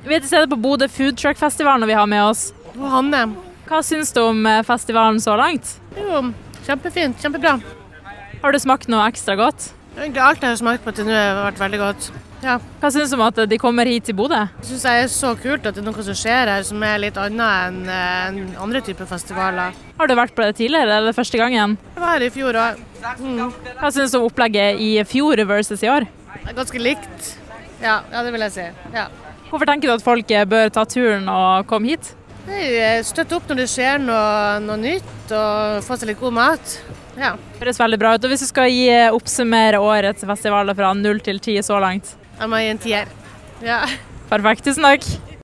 Vi er til stede på Bodø Food Truck Festival når vi har med oss. Og Hanne. Hva syns du om eh, festivalen så langt? Jo, kjempefint. Kjempebra. Har du smakt noe ekstra godt? Egentlig alt jeg har smakt på til nå, har vært veldig godt. Ja. Hva syns du om at eh, de kommer hit til Bodø? Jeg syns det er så kult at det er noe som skjer her som er litt annet enn eh, enn andre typer festivaler. Har du vært på det tidligere, eller er det første gangen? Jeg var her i fjor òg. Hva syns du om opplegget i fjor versus i år? Det er ganske likt. Ja, ja, det vil jeg si. Ja. Hvorfor tenker du at folk eh, bør ta turen og komme hit? Nei, Støtte eh, opp når det skjer noe, noe nytt, og få seg litt god mat. Ja. Høres veldig bra ut. Og hvis du skal gi, eh, oppsummere årets festivaler fra null til ti så langt Jeg må gi en tier. Ja. Perfekt. Tusen takk.